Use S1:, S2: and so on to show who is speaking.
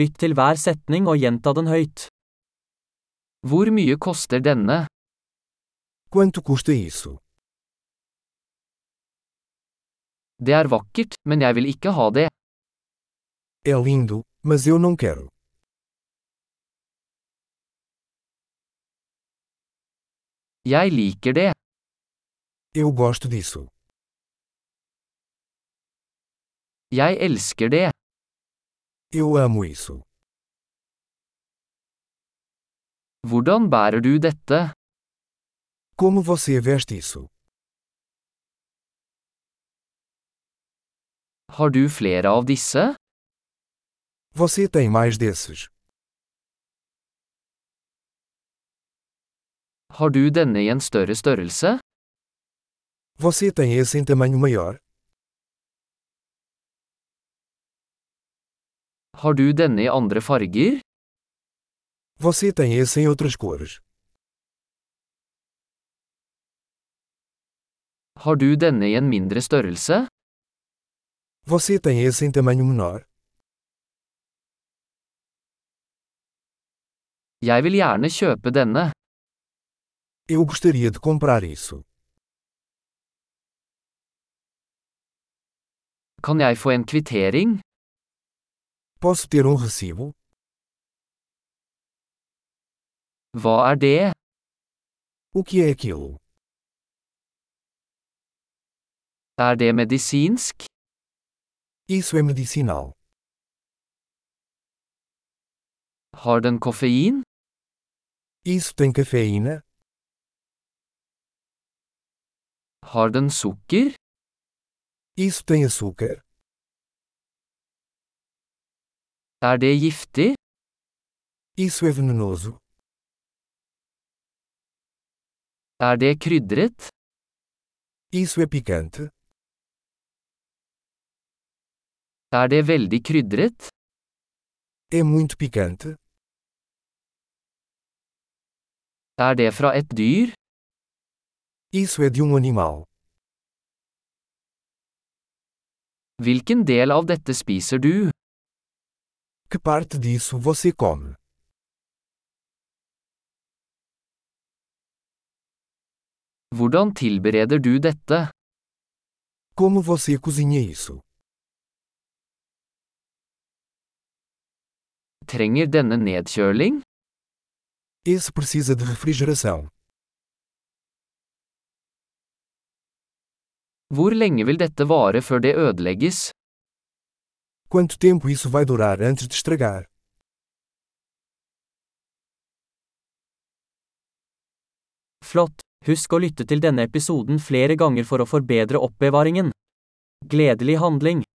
S1: Lytt til hver setning og gjenta den høyt.
S2: Hvor mye koster denne?
S3: Quanto custa isso?
S2: Det er vakkert, men jeg vil ikke ha det.
S3: É lindo, mas eu não quero.
S2: Jeg liker det.
S3: Eu gosto disso.
S2: Jeg elsker det.
S3: Eu amo isso.
S2: Hvordan bærer du dette?
S3: Como você veste isso?
S2: Har du flere av disse?
S3: Você tem mais desses.
S2: Har du denne i en større størrelse?
S3: Você tem esse em tamanho maior?
S2: Har du denne i andre farger?
S3: Você tem esse em outras cores?
S2: Har du denne i en mindre størrelse?
S3: Você tem esse em tamanho menor?
S2: Jeg vil gjerne kjøpe denne.
S3: Eu gostaria de comprar isso.
S2: Kan jeg få en kvittering?
S3: Posso ter um recibo?
S2: Hva er det?
S3: O que é aquilo?
S2: Er det medisinsk?
S3: Isso é medicinal.
S2: Har den koffein?
S3: Isso tem cafeína?
S2: Har den sukker?
S3: Isso tem açúcar?
S2: Er det giftig?
S3: Isso é venenoso?
S2: Er det krydret?
S3: Isso é picante?
S2: Er det veldig krydret?
S3: É muito picante?
S2: Er det fra et dyr?
S3: Isso é de um animal.
S2: Hvilken del av dette spiser du?
S3: Que parte disso você come?
S2: Hvordan tilbereder du dette?
S3: Como você cozinha isso?
S2: Trenger denne nedkjøling?
S3: Esse precisa de refrigeração.
S2: Hvor lenge vil dette vare før det ødelegges?
S3: Quanto tempo isso vai durar antes de estragar?
S1: Flott! Husk å lytte til denne episoden flere ganger for å forbedre oppbevaringen. Gledelig handling!